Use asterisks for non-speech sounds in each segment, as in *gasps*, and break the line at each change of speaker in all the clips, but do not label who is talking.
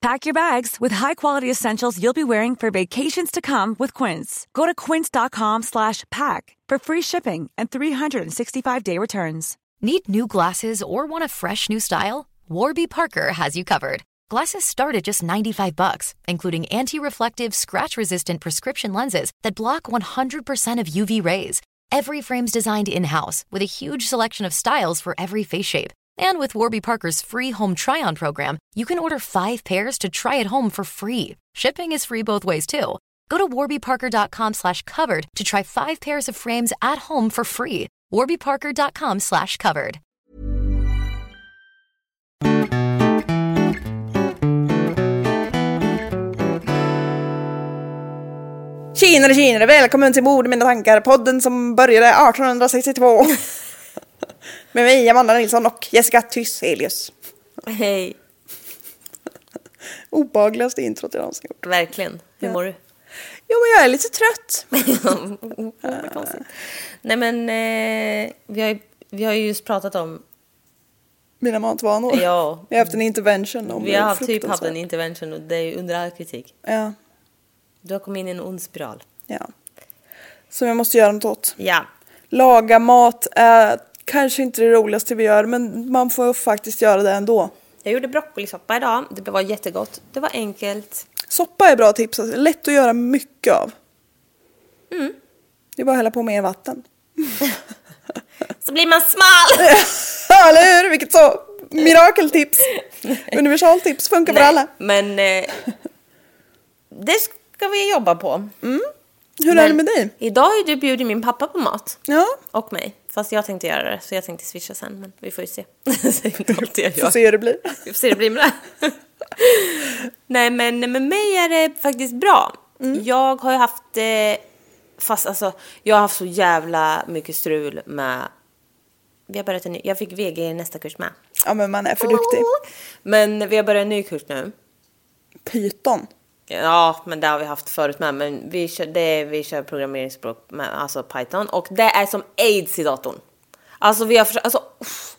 Pack your bags with high-quality essentials you'll be wearing for vacations to come with Quince. Go to quince.com slash pack for free shipping and 365-day returns.
Need new glasses or want a fresh new style? Warby Parker has you covered. Glasses start at just 95 bucks, including anti-reflective, scratch-resistant prescription lenses that block 100% of UV rays. Every frame's designed in-house with a huge selection of styles for every face shape. And with Warby Parker's free home try-on program, you can order 5 pairs to try at home for free. Shipping is free both ways too. Go to warbyparker.com slash covered to try five pairs of frames at home for free. warbyparker.com slash covered.
Tjenare tjenare, välkommen till Mord i mina tankar, podden som började
*laughs*
1862. Med mig Amanda Nilsson och Jessica Thyselius.
Hej,
Obehagligaste introt jag någonsin gjort.
verkligen. Hur mår du?
Jo men jag är lite trött.
Åh, vad konstigt. Nej men, eh, vi, har ju, vi har ju just pratat om,
Mina matvanor.
Ja.
Vi har haft en intervention *laughs* om
vi har haft typ
fruktansvärt.
haft en intervention och det är ju under all kritik.
Ja,
Du har kommit in i en ond spiral.
ja. Som jag måste göra något åt.
Ja,
Laga mat är kanske inte det roligaste vi gör men man får faktiskt göra det ändå.
jag gjorde broccolisoppa idag. Det var jättegott. Det var enkelt.
Soppa är bra tips, alltså. lätt att göra mycket av.
Mm.
Det är bara att hälla på mer vatten.
Så blir
*laughs*
man smal!
Ja, eller hur? Vilket så mirakeltips! Universaltips funkar för alla.
men eh, det ska vi jobba på.
Mm. Hur är det med dig?
Idag har ju du bjudit min pappa på mat.
Ja,
Och mig. Fast jag tänkte göra det, så jag tänkte swisha sen. Men vi får ju se. *laughs* det är inte alltid jag
får
gör.
se hur det blir.
Vi får se hur det blir med det. Nej men med mig är det faktiskt bra. Jag har ju haft, eh, fast alltså jag har haft så jävla mycket strul med, vi har börjat en ny, jag fick VG i nästa kurs med.
Ja, men man är för duktig.
Men vi har börjat en ny kurs nu.
Python.
Ja, men det har vi haft förut med, men vi kör, det, vi kör programmeringsspråk med, alltså Python och det är som aids i datorn. Alltså vi har försökt, alltså uff.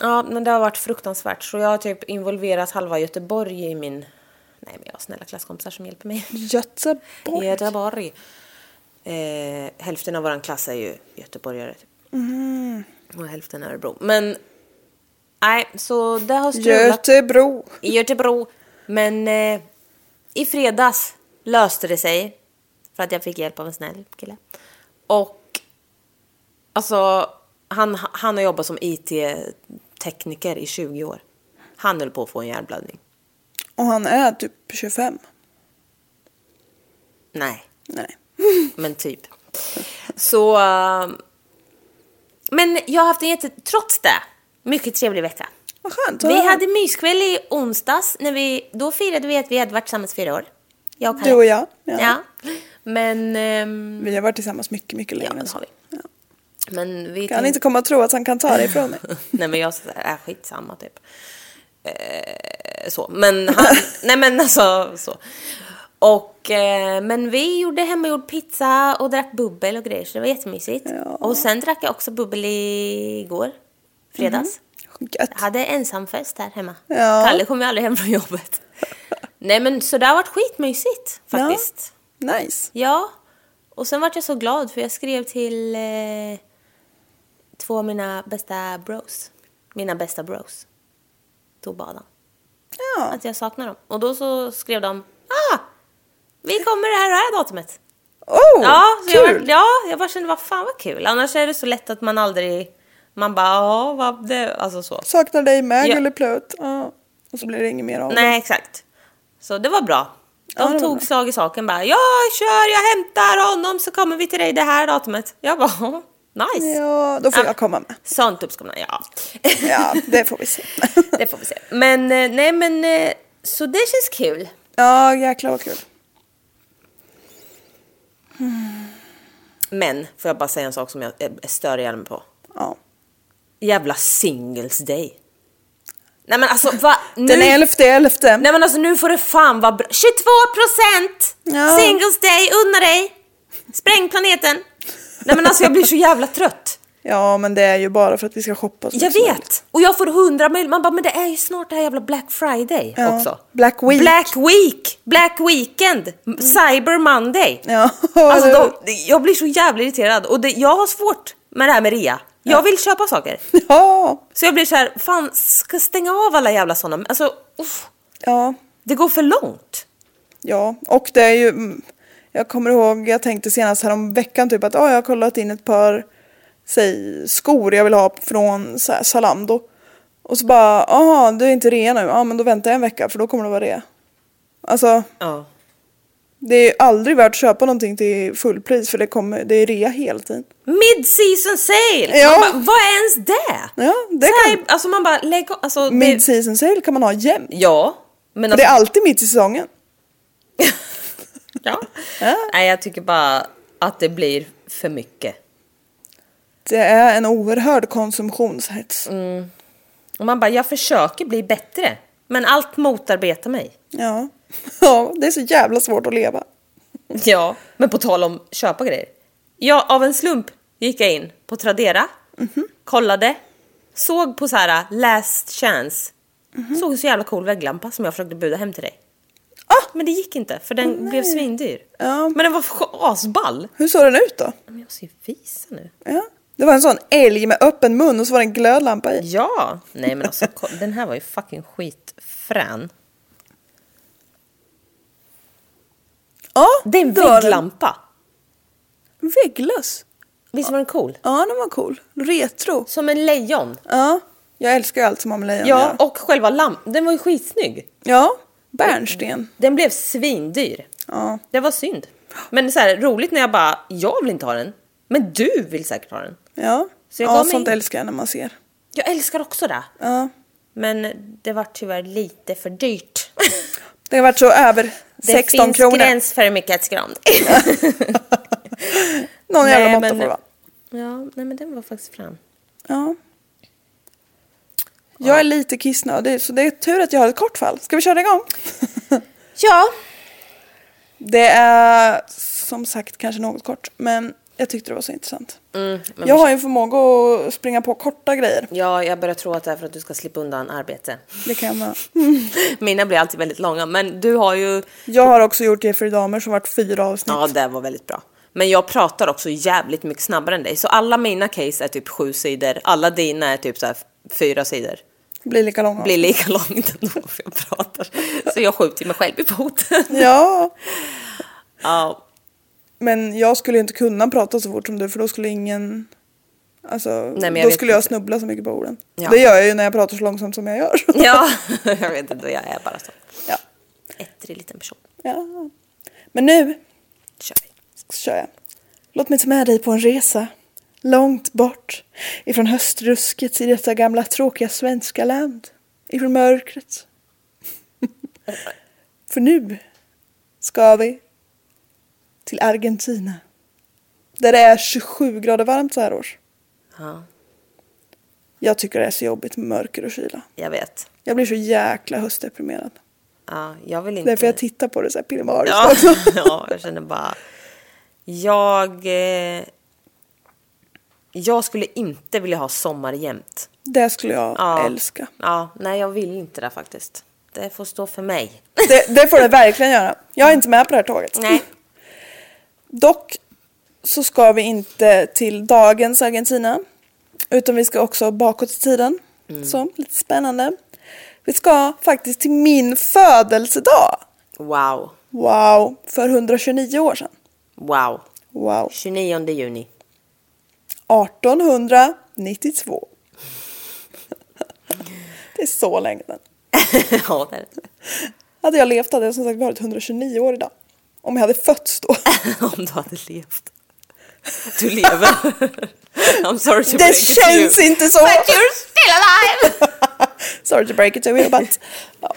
Ja, men det har varit fruktansvärt så jag har typ involverat halva Göteborg i min, nej men jag har snälla klasskompisar som hjälper mig.
Göteborg.
Göteborg. Eh, hälften av våran klass är ju göteborgare typ. Och hälften är Örebro. Men, nej, så det har strulat
Götebro.
i Göteborg. Men eh, i fredags löste det sig för att jag fick hjälp av en snäll kille. Och alltså, han, han har jobbat som IT-tekniker i 20 år. Han höll på att få en hjärnblödning.
Och han är typ 25.
Nej,
Nej.
men typ. Så... eh, men jag har haft en jätte, trots det, mycket trevlig vecka.
Vad skönt.
Vi hade myskväll i onsdags. När vi, då firade vi att vi hade varit tillsammans fyra år. Jag
Du
Kalle.
och jag. Ja.
Ja. Men, ehm,
Vi har varit tillsammans mycket, mycket längre
Ja,
än
det
så.
har vi. men vi...
Kan han inte komma och tro att han kan ta det ifrån mig?
nej men jag sa såhär, äh, skitsamma typ. Eh, så,
*laughs*
men han... nej men alltså så. Och, eh, men vi gjorde hemmagjord pizza och drack bubbel och grejer så det var jättemysigt. Och sen drack jag också bubbel igår, fredags.
Gött.
*laughs* Jag hade ensamfest här hemma.
Mhm. Ja.
Kalle kom ju aldrig hem från jobbet. nej men så det har varit skitmysigt faktiskt.
Nice.
Ja, och sen vart jag så glad för jag skrev till eh, två av mina bästa bros. Mina bästa bros. Tog badan.
Ja.
Att jag saknar dem. Och då så skrev de ah, vi kommer det här och det här datumet.
Oh,
Ja, så jag, var-
kul!
ja, jag bara kände vad fan vad kul. Annars är det så lätt att man aldrig, man bara ja, vad det, alltså så.
Saknar dig med
Ja.
gulleplutt. Ja. Och så blir det inget mer av det.
Nej, exakt. Så det var bra. De
Ja, det var
tog
bra.
slag i saken bara, ja, kör, jag hämtar honom så kommer vi till dig det här datumet. Jag bara, "Ja, nice.
Ja, då får
Ja.
jag komma med.
Sånt uppskommande, ja. *laughs*
Ja, det får vi se.
det får vi se. Men eh, nej, men eh, så det känns kul.
*laughs* Ja, jäklar vad kul.
Men, får jag bara säga en sak som jag eh, stör ihjäl mig på?
Ja.
Jävla singles day. Nej men alltså va?
*laughs*
Nu,
Den elfte elfte.
Nej men alltså nu får det fan vara bra. 22 procent!
Ja.
Singles day, unna dig! Spräng planeten! Nej men alltså jag blir så
*laughs*
jävla trött.
Ja, men det är ju bara för att vi ska shoppa. så
Jag
mycket som möjligt.
vet! Och jag får hundra mejl. Man bara, men det är ju snart det här jävla Black Friday
Ja.
också.
Black Week.
Black Week! Black Weekend! Cyber Monday!
Ja,
Alltså,
eller hur?
de, jag blir så jävla irriterad. Och det, jag har svårt med det här med rea. Jag vill köpa saker.
Ja,
Så jag blir så här, fan ska stänga av alla jävla sådana. Alltså, uff,
ja,
det går för långt.
ja. Och det är ju... mm, Jag kommer ihåg, jag tänkte senast härom veckan typ att ah, jag har kollat in ett par säg, skor jag vill ha från så här, Zalando. Och så bara, jaha, det är inte rea nu. Ja, men då väntar jag en vecka för då kommer det vara rea. Alltså,
Ja.
det är ju aldrig värt att köpa någonting till fullpris för det, kommer, det är rea hela tiden.
Mid season sale!
Ja.
Man bara, vad är ens det?
Ja, det
Cy-
kan-
Alltså man bara, lägg av. alltså, det-
Mid-season sale kan man ha jämt.
Ja. Men
För det är alltid mitt i säsongen.
alltså, ja.
Ja.
Nej jag tycker bara att det blir för mycket.
Det är en oerhörd konsumtionshets.
Mm. Och man bara, jag försöker bli bättre. Men allt motarbetar mig.
Ja. *laughs* ja, det är så jävla svårt att leva.
Ja, men på tal om köpa grejer. Ja, av en slump gick jag in på Tradera, Mhm. kollade, såg på så här äh, last chance. Såg en så jävla cool vägglampa som jag försökte buda hem till dig. Ah, men det gick inte för den blev svindyr.
Ja.
Men den var f- asball.
Hur såg den ut då?
Men jag ska ju visa nu.
Ja. Det var en sån älg med öppen mun och så var det en glödlampa i.
Ja, nej men alltså ko- den här var ju fucking skitfrän.
Ja,
Det är en
det var den.
vägglampa.
Vägglös.
Visst var den cool?
Ja, den var cool. Retro.
Som en lejon.
Ja, jag älskar ju allt som har med lejon
Ja,
att göra.
och själva lampan, den var ju skitsnygg.
Ja, bärnsten.
Den blev svindyr.
Ja.
Det var synd. Men så här, roligt när jag bara, jag vill inte ha den. Men du vill säkert ha den.
Ja,
Så jag
ja
gav mig
sånt
in.
älskar jag när man ser.
Jag älskar också det.
Ja.
Men det var tyvärr lite
*laughs*
för dyrt.
Det har varit så över
Det
16
finns
kronor.
gräns för hur mycket jag skramd.
Någon
Nej,
jävla måtta
men-
får det vara.
Ja, nej men den var faktiskt fram.
Ja. Jag är lite kissnödig så det är tur att jag har ett kort fall. Ska vi köra igång?
Ja.
Det är som sagt kanske något kort men jag tyckte det var så intressant.
Mm,
jag har ju en förmåga att springa på korta grejer.
Ja, jag börjar tro att det är för att du ska slippa undan arbete.
Det kan vara.
Mina blir alltid väldigt långa, men du har ju...
Jag har också gjort Jeffrey Dahmer som varit fyra avsnitt.
Ja, det var väldigt bra. Men jag pratar också jävligt mycket snabbare än dig. Så alla mina case är typ sju sidor. Alla dina är typ så här fyra sidor.
Blir lika långa.
blir lika långt ändå för jag pratar. Så jag skjuter mig själv i foten.
Ja,
Ja,
men jag skulle ju inte kunna prata så fort som du för då skulle ingen... Alltså,
men jag
då
vet
skulle jag
inte.
snubbla så mycket på orden.
Ja.
Det gör jag ju när jag pratar så långsamt som jag gör.
ja. jag vet inte, jag är bara så.
*laughs* ja.
Ettrig liten person.
ja. Men nu
Kör vi.
Så kör jag. Låt mig ta med dig på en resa. Långt bort. Ifrån höstrusket i detta gamla tråkiga svenska land. Ifrån mörkret. *laughs* För nu ska vi till Argentina. Där det är 27 grader varmt så här års.
Ja,
Jag tycker det är så jobbigt med mörker och kyla.
jag vet.
Jag blir så jäkla höstdeprimerad.
Ja, jag vill inte...
Därför jag tittar på det så här pillemariskt
ja,
också.
*laughs* ja, jag känner bara... Jag... Eh, jag skulle inte vilja ha sommar jämt.
*laughs* Det skulle jag
Ja.
älska.
Ja, nej jag vill inte det faktiskt. Det får stå för mig.
Det, det får det verkligen göra. Jag är inte med på det här tåget.
Nej.
Dock så ska vi inte till dagens Argentina. Utan vi ska också bakåt i tiden.
Mm.
Så, lite spännande. Vi ska faktiskt till min födelsedag.
Wow.
Wow, för 129 år sedan.
Wow.
Wow.
29 juni. *laughs*
1892. det är så länge sedan.
ja, det är det.
Hade jag levt hade jag som sagt varit 129 år idag. Om jag hade fötts då.
Om du hade levt. Du *laughs* lever. I'm sorry to
Det
break it to you.
känns inte så!
But you're still alive!
*laughs* Sorry to break it to you but... Ja.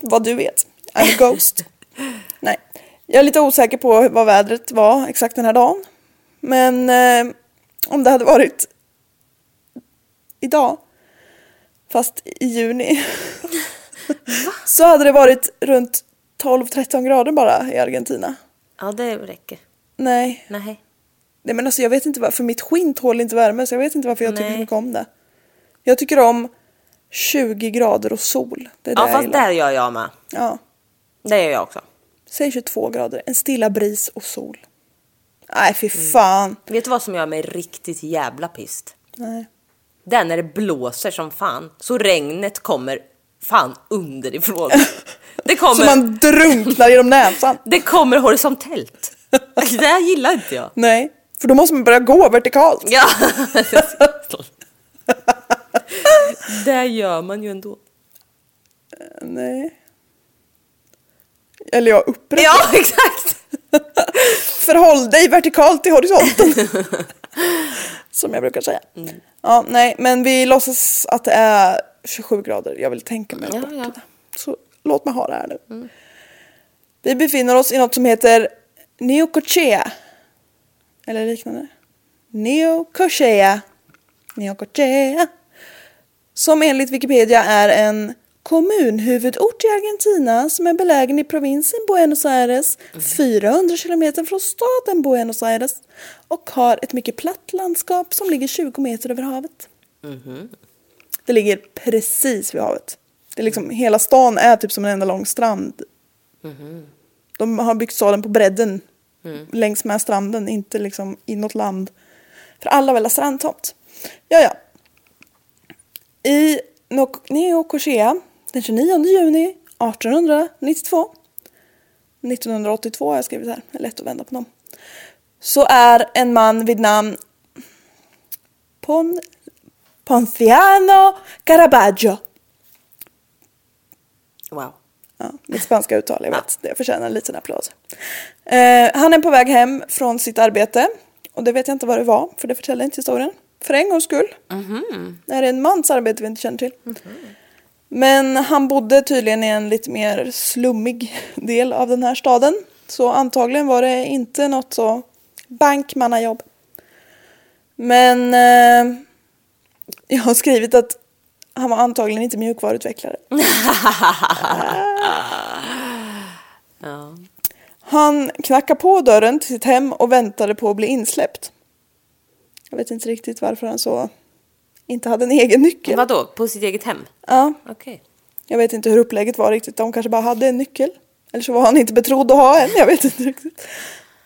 Vad du vet. I'm a
*laughs*
ghost. Nej. Jag är lite osäker på vad vädret var exakt den här dagen. Men eh, om det hade varit idag, fast i
*laughs*
juni, så hade det varit runt 12-13 grader bara i Argentina.
ja, det räcker.
Nej,
Nej.
Nej men alltså jag vet inte varför, mitt skinn tål inte värme så jag vet inte varför jag tycker
Nej.
så mycket om det. Jag tycker om 20 grader och sol. Det är det
Ja,
jag
fast
gillar.
där gör jag med.
Ja.
Det gör jag också.
Säg 22 grader, en stilla bris och sol. Nej fy fan.
Vet du vad som gör mig riktigt jävla pist?
Nej.
Det är när det blåser som fan, så regnet kommer fan underifrån. *laughs* Det
Så
kommer,
man drunknar genom näsan.
*laughs* det kommer horisontellt. Alltså, Det här gillar inte jag.
Nej, för då måste man börja gå vertikalt.
Ja. *laughs* Det gör man ju ändå.
Nej. Eller jag upprätt.
Ja, exakt!
Förhåll dig vertikalt till
*laughs*
horisonten. Som jag brukar säga.
Mm.
Ja, nej, men vi låtsas att det är 27 grader. Jag vill tänka mig
Ja,
bort
ja. Mm.
det. Så låt mig ha det här nu. Vi befinner oss i något som heter Neocochea. Eller liknande. Neocochea. Neocochea. Som enligt Wikipedia är en kommunhuvudort i Argentina som är belägen i provinsen Buenos Aires 400 kilometer från staden Buenos Aires och har ett mycket platt landskap som ligger 20 meter över havet. Det ligger precis vid havet. Det är liksom, Hela stan är typ som en enda lång strand. De har byggt staden på bredden längs med stranden, inte liksom inåt land. För alla vill ha strandtomt. Ja, ja. I Nok- Neocochea den 29 juni 1892. 1982 har jag skrivit här, det är lätt att vända på dem. Så är en man vid namn Pon... Ponciano Caravaggio.
Wow.
Ja, mitt spanska uttal, jag vet. Det förtjänar en liten applåd. Eh, han är på väg hem från sitt arbete. Och det vet jag inte vad det var, för det förtäljer inte historien. För en gångs skull. Det här är en mans arbete vi inte känner till. Men han bodde tydligen i en lite mer slummig del av den här staden. Så antagligen var det inte något så bankmannajobb. Men eh, jag har skrivit att han var antagligen inte mjukvaruutvecklare.
Ja.
Han knackade på dörren till sitt hem och väntade på att bli insläppt. Jag vet inte riktigt varför han så inte hade en egen nyckel.
Vadå, på sitt eget hem?
Ja,
Okej.
jag vet inte hur upplägget var riktigt. De kanske bara hade en nyckel. Eller så var han inte betrodd att ha en. Jag vet inte riktigt.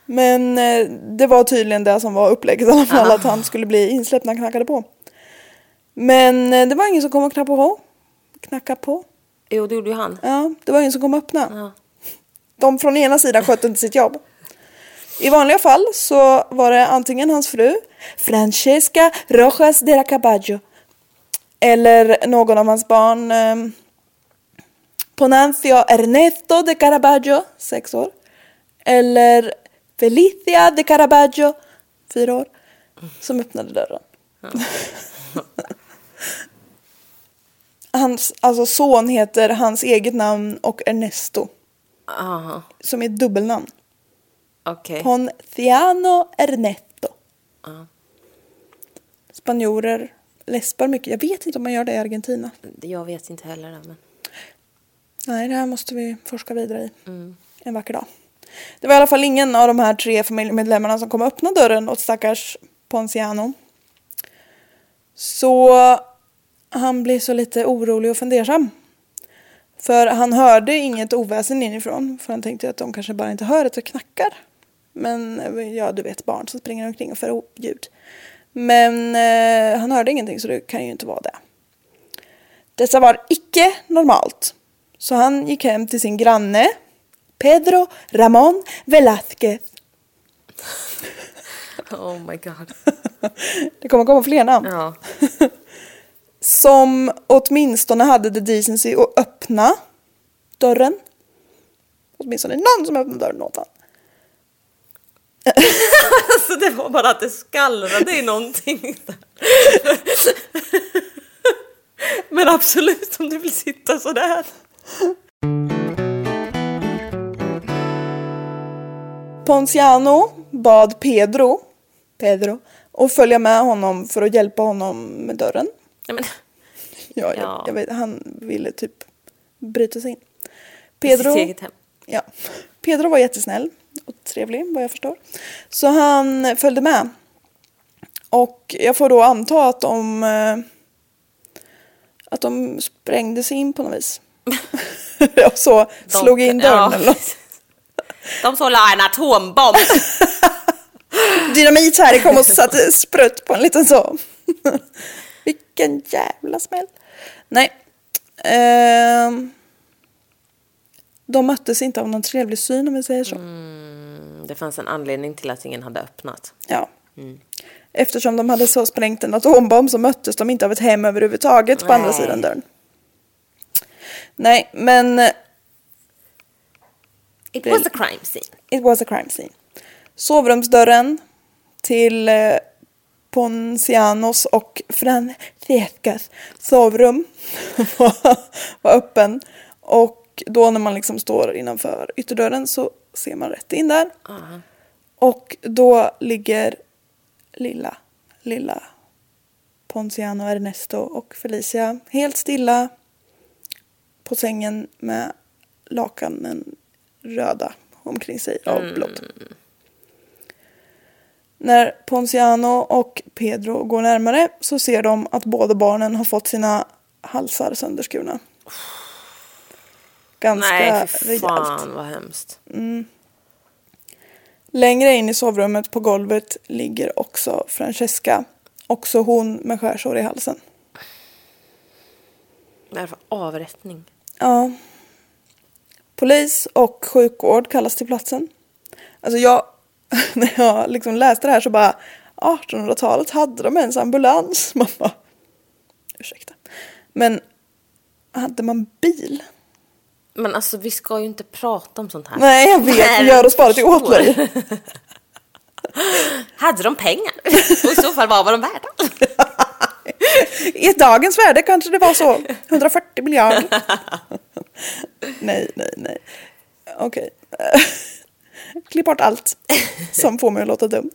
Men eh, det var tydligen det som var upplägget i alla fall. Att han skulle bli insläppt när han knackade på. Men eh, det var ingen som kom och knackade på. Knacka på.
Jo, det gjorde ju han.
Ja, det var ingen som kom och öppnade.
Ja.
De från ena sidan skötte inte sitt jobb. I vanliga fall så var det antingen hans fru, Francesca Rojas de la Caballo, eller någon av hans barn, eh, Ponancio Ernesto de Caraballo, sex år, eller Felicia de Caraballo, fyra år, som öppnade dörren. Hans alltså son heter hans eget namn och Ernesto,
Aha,
som är ett dubbelnamn.
okej.
Ponciano Ernesto.
Ja.
Spanjorer läspar mycket. Jag vet inte om man gör det i Argentina.
Jag vet inte heller det, men...
Nej, det här måste vi forska vidare i en vacker dag. Det var i alla fall ingen av de här tre familjemedlemmarna som kom och öppnade dörren åt stackars Ponciano. Så han blev så lite orolig och fundersam. För han hörde inget oväsen inifrån. För han tänkte att de kanske bara inte hör att det knackar. Men ja, du vet barn som springer omkring och för ljud. Men eh, han hörde ingenting så det kan ju inte vara det. Dessa var icke normalt. Så han gick hem till sin granne Pedro Ramón Velázquez
Oh my god.
Det kommer komma fler namn.
Ja. *laughs*
Som åtminstone hade the decency att öppna dörren. Åtminstone någon som öppnade dörren åt han.
Alltså det var bara att det skallrade i någonting. där. *laughs* Men absolut om du vill sitta sådär.
Pontiano bad Pedro, Pedro att följa med honom för att hjälpa honom med dörren.
Nej, men,
Ja, Jag,
Ja.
jag vet, han ville typ bryta sig in.
I sitt
Pedro,
eget hem.
ja, Pedro var jättesnäll och trevlig vad jag förstår. Så han följde med. Och jag får då anta att de, eh, att de sprängde sig in på något
*laughs*
vis. och så
De-
slog in dörren
ja.
eller något.
De såg la en atombomb.
dynamit här, det kom och satte sprutt på en liten så. *laughs* Vilken jävla smäll. Nej. Ehm. de möttes inte av någon trevlig syn om vi säger så.
Det fanns en anledning till att ingen hade öppnat.
Ja. Eftersom de hade så sprängt en atombomb så möttes de inte av ett hem överhuvudtaget på andra
Nej.
sidan dörren. Nej, men eh,
It
Det-
was a crime scene.
It was a crime scene. Sovrumsdörren till eh, Poncianos och Francescas sovrum *laughs* var- var öppen. Och då när man liksom står innanför ytterdörren så ser man rätt in där. Och då ligger lilla, lilla Ponciano, Ernesto och Felicia helt stilla på sängen med lakanen röda omkring sig av
Mm.
blod. När Ponciano och Pedro går närmare så ser de att båda barnen har fått sina halsar sönderskurna. Ganska
Nej fy
rejält.
fan vad hemskt.
Längre in i sovrummet på golvet ligger också Francesca. Också hon med skärsår i halsen.
Det här var avrättning.
Ja. Polis och sjukvård kallas till platsen. Alltså jag, *laughs* när jag liksom läste det här så bara 1800-talet hade de ens ambulans. *laughs* Man bara, ursäkta. Men hade man bil?
Men alltså vi ska ju inte prata om sånt här.
Nej jag vet,
Nej,
vi gör oss bara till
förstår.
åtlöje.
Hade de pengar? *laughs* Och i så fall vad var de värda?
I dagens värde kanske det var så 140
*laughs*
miljarder. nej, nej, nej. Okej. *laughs* Klipp bort allt som får mig att låta dum.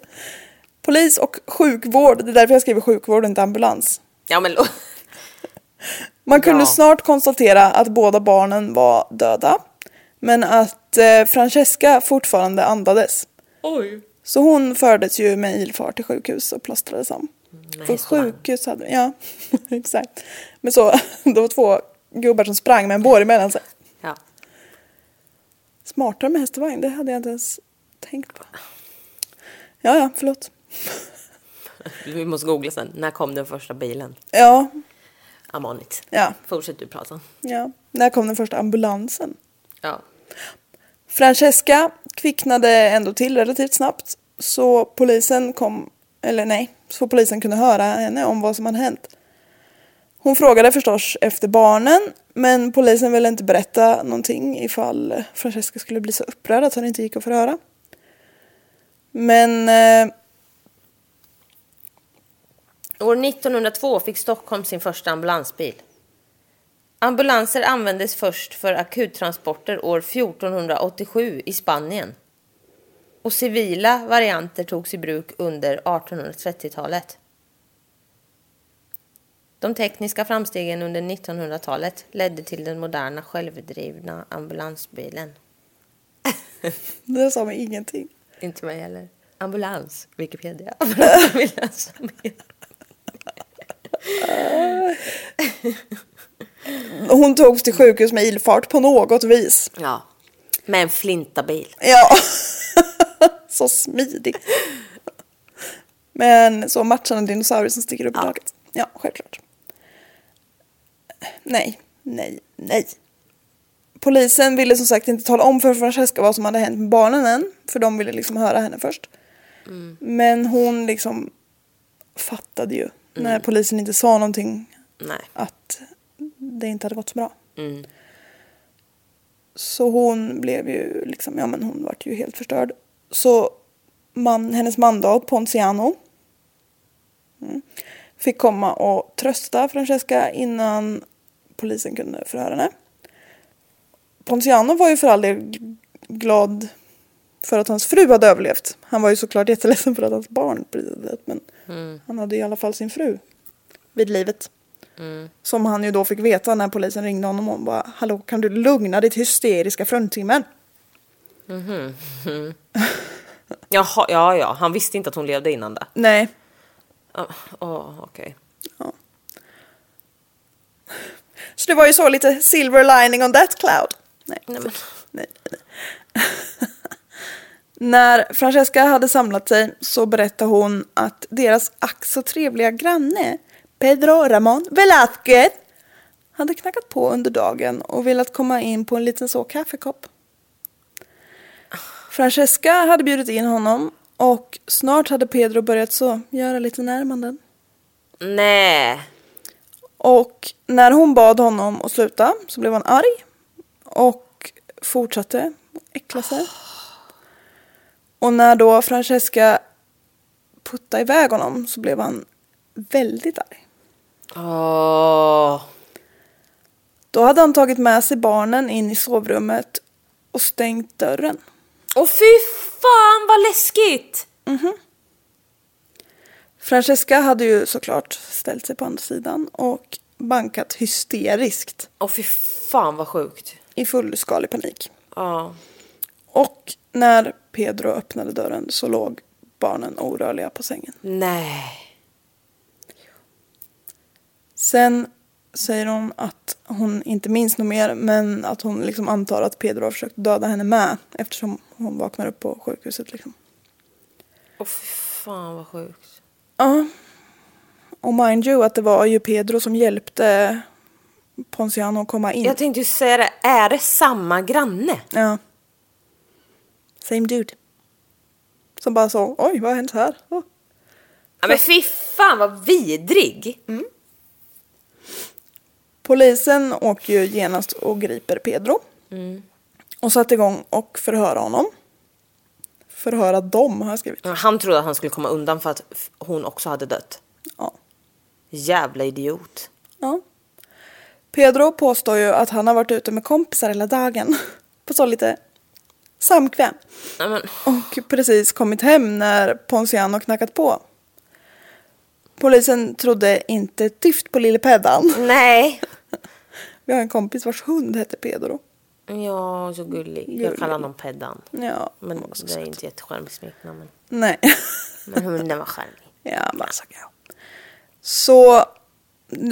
*laughs* Polis och sjukvård, det är därför jag skriver sjukvård och inte ambulans.
Ja men lo-
Man kunde
Ja.
snart konstatera att båda barnen var döda. Men att eh, Francesca fortfarande andades.
Oj.
Så hon fördes ju med ilfart till sjukhus och plåstrades om.
Med
För
hästvagn.
sjukhus hade Ja, *laughs* exakt. Men så, *laughs* det var två gubbar som sprang med en bår emellan sig.
Ja.
Smartare med hästvagn, det hade jag inte ens tänkt på. Ja, ja, förlåt.
Vi måste googla sen. När kom den första bilen?
Ja,
I'm on it.
ja,
Fortsätt du prata.
ja. När kom den första ambulansen?
Ja.
Francesca kvicknade ändå till relativt snabbt. Så polisen kom, eller nej, så polisen kunde höra henne om vad som hade hänt. Hon frågade förstås efter barnen, men polisen ville inte berätta någonting ifall Francesca skulle bli så upprörd att hon inte gick att förhöra. Men eh,
År 1902 fick Stockholm sin första ambulansbil. Ambulanser användes först för akuttransporter år 1487 i Spanien. Och civila varianter togs i bruk under 1830-talet. De tekniska framstegen under 1900-talet ledde till den moderna självdrivna ambulansbilen.
det sa mig ingenting.
Inte mig heller. Ambulans, Wikipedia. Ambulans vill läsa mer.
Hon togs till sjukhus med ilfart på något vis.
Ja. Med en flintabil.
Ja. *laughs* så smidig. Men så matchande dinosaurier som sticker upp i
Ja.
taket. Ja, självklart. Nej, nej, nej. Polisen ville som sagt inte tala om för Francesca vad som hade hänt med barnen än. För de ville liksom höra henne först. Men hon liksom fattade ju när polisen inte sa någonting
Nej. Mm.
att det inte hade gått så bra. Så hon blev ju liksom, ja men hon vart ju helt förstörd. Så man, hennes mandat Ponziano mm, fick komma och trösta Francesca innan polisen kunde förhöra henne. Ponziano var ju för all del g- glad för att hans fru hade överlevt. Han var ju såklart jätteledsen för att hans barn hade dött men han hade i alla fall sin fru vid livet. Som han ju då fick veta när polisen ringde honom och bara Hallå kan du lugna ditt hysteriska fruntimmer?
Jaha, ja, ja. Han visste inte att hon levde innan det.
Nej.
Ah, Åh, okej.
Så det var ju så lite silver lining on that cloud. Nej.
Nej, men-
nej, nej. *laughs* när Francesca hade samlat sig så berättade hon att deras ack så trevliga granne Pedro Ramon Velázquez hade knackat på under dagen och velat komma in på en liten så kaffekopp. Francesca hade bjudit in honom och snart hade Pedro börjat så, göra lite närmanden.
Nej.
Och när hon bad honom att sluta så blev han arg och fortsatte äckla sig. Och när då Francesca puttade iväg honom så blev han väldigt arg.
Åh.
Då hade han tagit med sig barnen in i sovrummet och stängt dörren.
Åh fy fan vad läskigt!
Francesca hade ju såklart ställt sig på andra sidan och bankat hysteriskt
Åh fy fan vad sjukt.
i fullskalig panik.
Ja.
Och när Pedro öppnade dörren så låg barnen orörliga på sängen.
Nej.
Sen säger hon att hon inte minns något mer men att hon liksom antar att Pedro har försökt döda henne med eftersom hon vaknar upp på sjukhuset. Liksom.
Åh fy fan vad sjukt.
Ja. Och mind you att det var ju Pedro som hjälpte Ponziano att komma in.
Jag tänkte ju säga det, är det samma granne?
Ja. Same dude. Som bara så, oj vad har hänt här? Oh.
Ja, men fy fan vad vidrig!
Polisen åker ju genast och griper Pedro.
Mm.
Och satte igång och förhöra honom. Förhöra dem har jag skrivit.
Han trodde att han skulle komma undan för att f- hon också hade dött.
Ja.
Jävla idiot.
Ja. Pedro påstår ju att han har varit ute med kompisar hela dagen. På så lite samkväm.
Nej, men,
Och precis kommit hem när Ponziano knackat på. Polisen trodde inte ett dyft på lille Peddan.
nej.
Vi har en kompis vars hund heter Pedro.
Ja, så gullig. Jag
Gullig.
kallar honom Peddan.
Ja,
Men
han var så
det är
söt.
inte jättecharmigt smeknamn. Men,
Nej. *laughs*
men hunden var charmig.
Ja, bara så kan jag. Så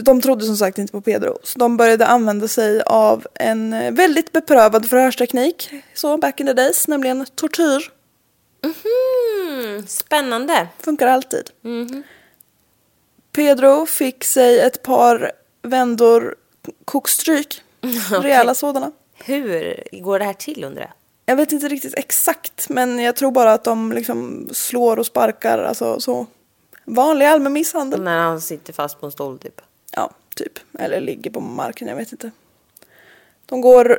de trodde som sagt inte på Pedro. Så de började använda sig av en eh, väldigt beprövad förhörsteknik. Så back in the days, nämligen tortyr.
Mm, spännande.
Funkar alltid.
Mhm.
Pedro fick sig ett par vändor kokstryk. Rejäla sådana.
Hur går det här till undrar jag?
Jag vet inte riktigt exakt men jag tror bara att de liksom slår och sparkar. Alltså så. Vanlig allmän misshandel.
När han sitter fast på en stol typ.
Ja, typ. Eller ligger på marken, jag vet inte. De går...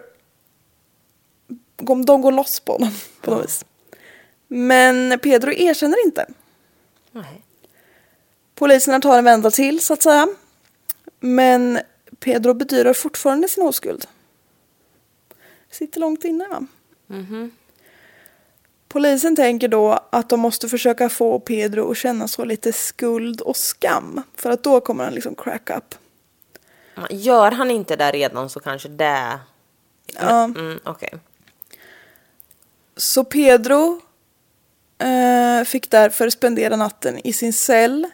De går loss på honom på något vis. Men Pedro erkänner inte.
Nej.
Poliserna tar en vända till, så att säga. Men Pedro bedyrar fortfarande sin oskuld. Sitter långt inne, va? Polisen tänker då att de måste försöka få Pedro att känna så lite skuld och skam. För att då kommer han liksom crack up.
Gör han inte det redan så kanske det...
Ja.
Mm, Okej.
Så Pedro eh, fick därför spendera natten i sin cell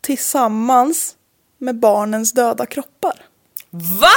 tillsammans med barnens döda kroppar.
VA?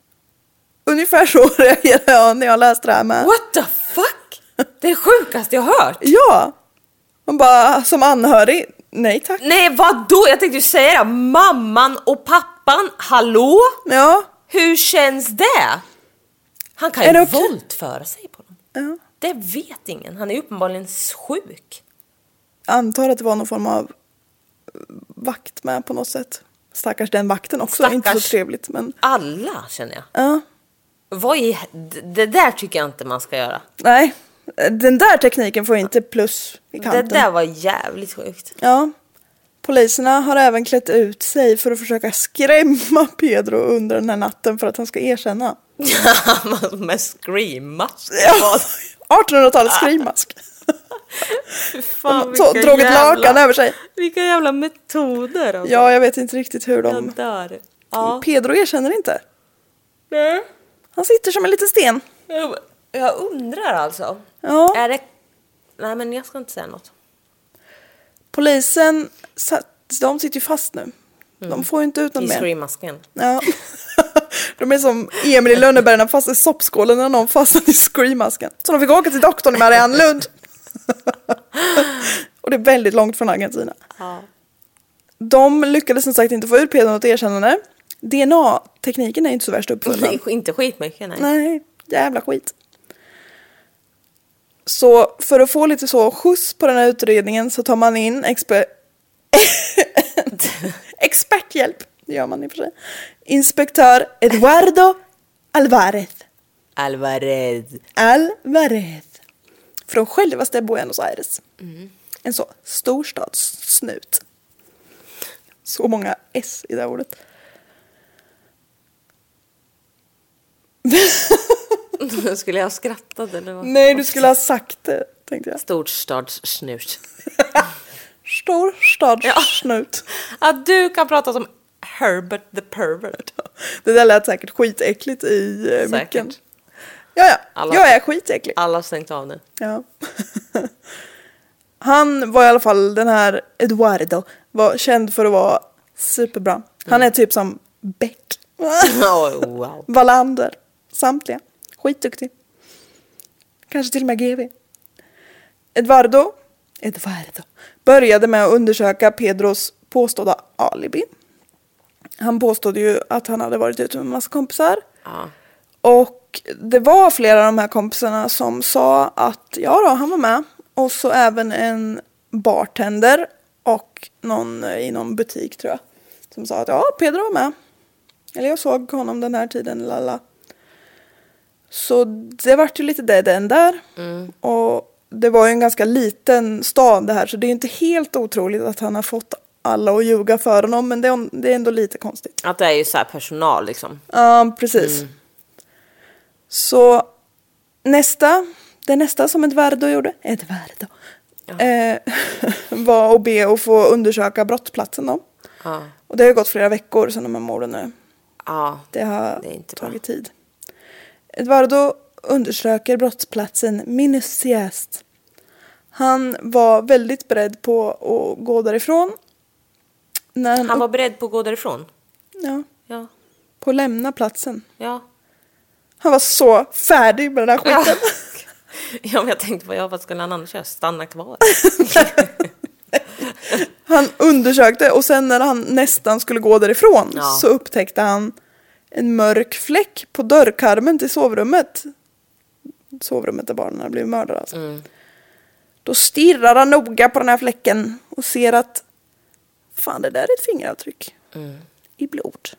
Ungefär så *laughs* reagerade jag när jag läste det här med.
What the fuck? Det är det sjukaste jag hört.
Ja! Man bara, som anhörig, nej tack.
Nej vadå? Jag tänkte ju säga det. Mamman och pappan, hallå?
Ja,
Hur känns det? Han kan
Är
ju
det okej?
våldföra sig på dem.
ja.
Det vet ingen. Han är ju uppenbarligen sjuk.
Jag antar att det var någon form av vakt med på något sätt. Stackars den vakten också, inte så
Stackars.
trevligt men
Alla känner jag.
ja.
Vad i... d- Det där tycker jag inte man ska göra.
Nej, den där tekniken får inte plus i kanten.
Det där var jävligt *laughs* sjukt.
Ja. Poliserna har även klätt ut sig för att försöka skrämma Pedro under den här natten för att han ska erkänna.
Med screammask.
Ja. 1800-talets
*laughs*
skrivmask.
Fan,
De så-
vilka
drog ett lakan över sig.
*laughs* Vilka jävla metoder alltså.
Ja, jag vet inte riktigt hur de...
Jag dör. Ja.
Pedro erkänner inte.
Nej.
Han sitter som en liten sten.
Jag- Jag undrar alltså.
Ja.
Är det... Nej men jag ska inte säga något.
Polisen, satt, de sitter ju fast nu.
Mm.
De får ju inte ut någon
I
mer.
screammasken.
Ja. *laughs* De är som Emil i Lönneberga fast i soppskålen när någon fastnade i screammasken. Så de fick åka till doktorn i Mariannelund. *laughs* Och det är väldigt långt från Argentina.
Ja.
De lyckades som sagt inte få ur Pedro något erkännande. DNA-tekniken är inte så värst uppfunnen.
Nej, inte skitmycket nej.
Nej, jävla skit. Så för att få lite så skjuts på den här utredningen så tar man in exper... *laughs* experthjälp. Det gör man i och för sig. Inspektör Eduardo Alvarez.
Alvarez. *laughs*
Alvarez. Från självaste Buenos Aires. En så storstadssnut. Så många S i det här ordet.
Skulle jag ha skrattat eller vad?
Nej, du skulle ha sagt det, tänkte jag.
Storstadssnut.
Storstadssnut.
Att du kan prata som Herbert the pervert.
*laughs* Det där lät säkert skitäckligt i eh,
Säkert.
micken. Ja, ja.
Alla-
Jag är skitäcklig.
Alla har stängt av nu.
Ja. *laughs* Han var i alla fall, den här Eduardo, var känd för att vara superbra.
Mm.
Han är typ som Beck. *laughs*
Oh, wow.
Wallander. Samtliga. Skitduktig. Kanske till och med GV. Eduardo, Eduardo började med att undersöka Pedros påstådda alibi. Han påstod ju att han hade varit ute med en massa kompisar.
Ja.
Och det var flera av de här kompisarna som sa att ja då, han var med. Och så även en bartender och någon eh, i någon butik tror jag. Som sa att ja, Pedro var med. Eller jag såg honom den här tiden, lalla. Så det vart ju lite dead end där. Och det var ju en ganska liten stad det här så det är ju inte helt otroligt att han har fått alla att ljuga för honom men det är- det är ändå lite konstigt.
Att det är ju så här personal liksom.
Ja, precis.
Mm.
Så nästa, det nästa som Edvardo gjorde, Edvardo, eh, *laughs* var att be att få undersöka brottsplatsen då.
Ja.
Och det har ju gått flera veckor sedan de här morden nu.
Ja.
Det har
Det är inte bra.
tagit tid. Eduardo undersöker brottsplatsen minutiöst. Han var väldigt beredd på att gå därifrån. När han,
Han var beredd på att gå därifrån.
ja,
Ja.
på att lämna platsen.
Ja.
Han var så färdig med den här
Ja.
skiten.
*laughs* ja men jag tänkte vad, jag, vad skulle han annars göra? Stanna kvar?
Han undersökte och sen när han nästan skulle gå därifrån
Ja.
så upptäckte han en mörk fläck på
Mm.
dörrkarmen till sovrummet. Sovrummet där barnen har blivit mördade alltså. Då stirrar han noga på den här fläcken och ser att fan, det där är ett fingeravtryck
Mm.
i blod.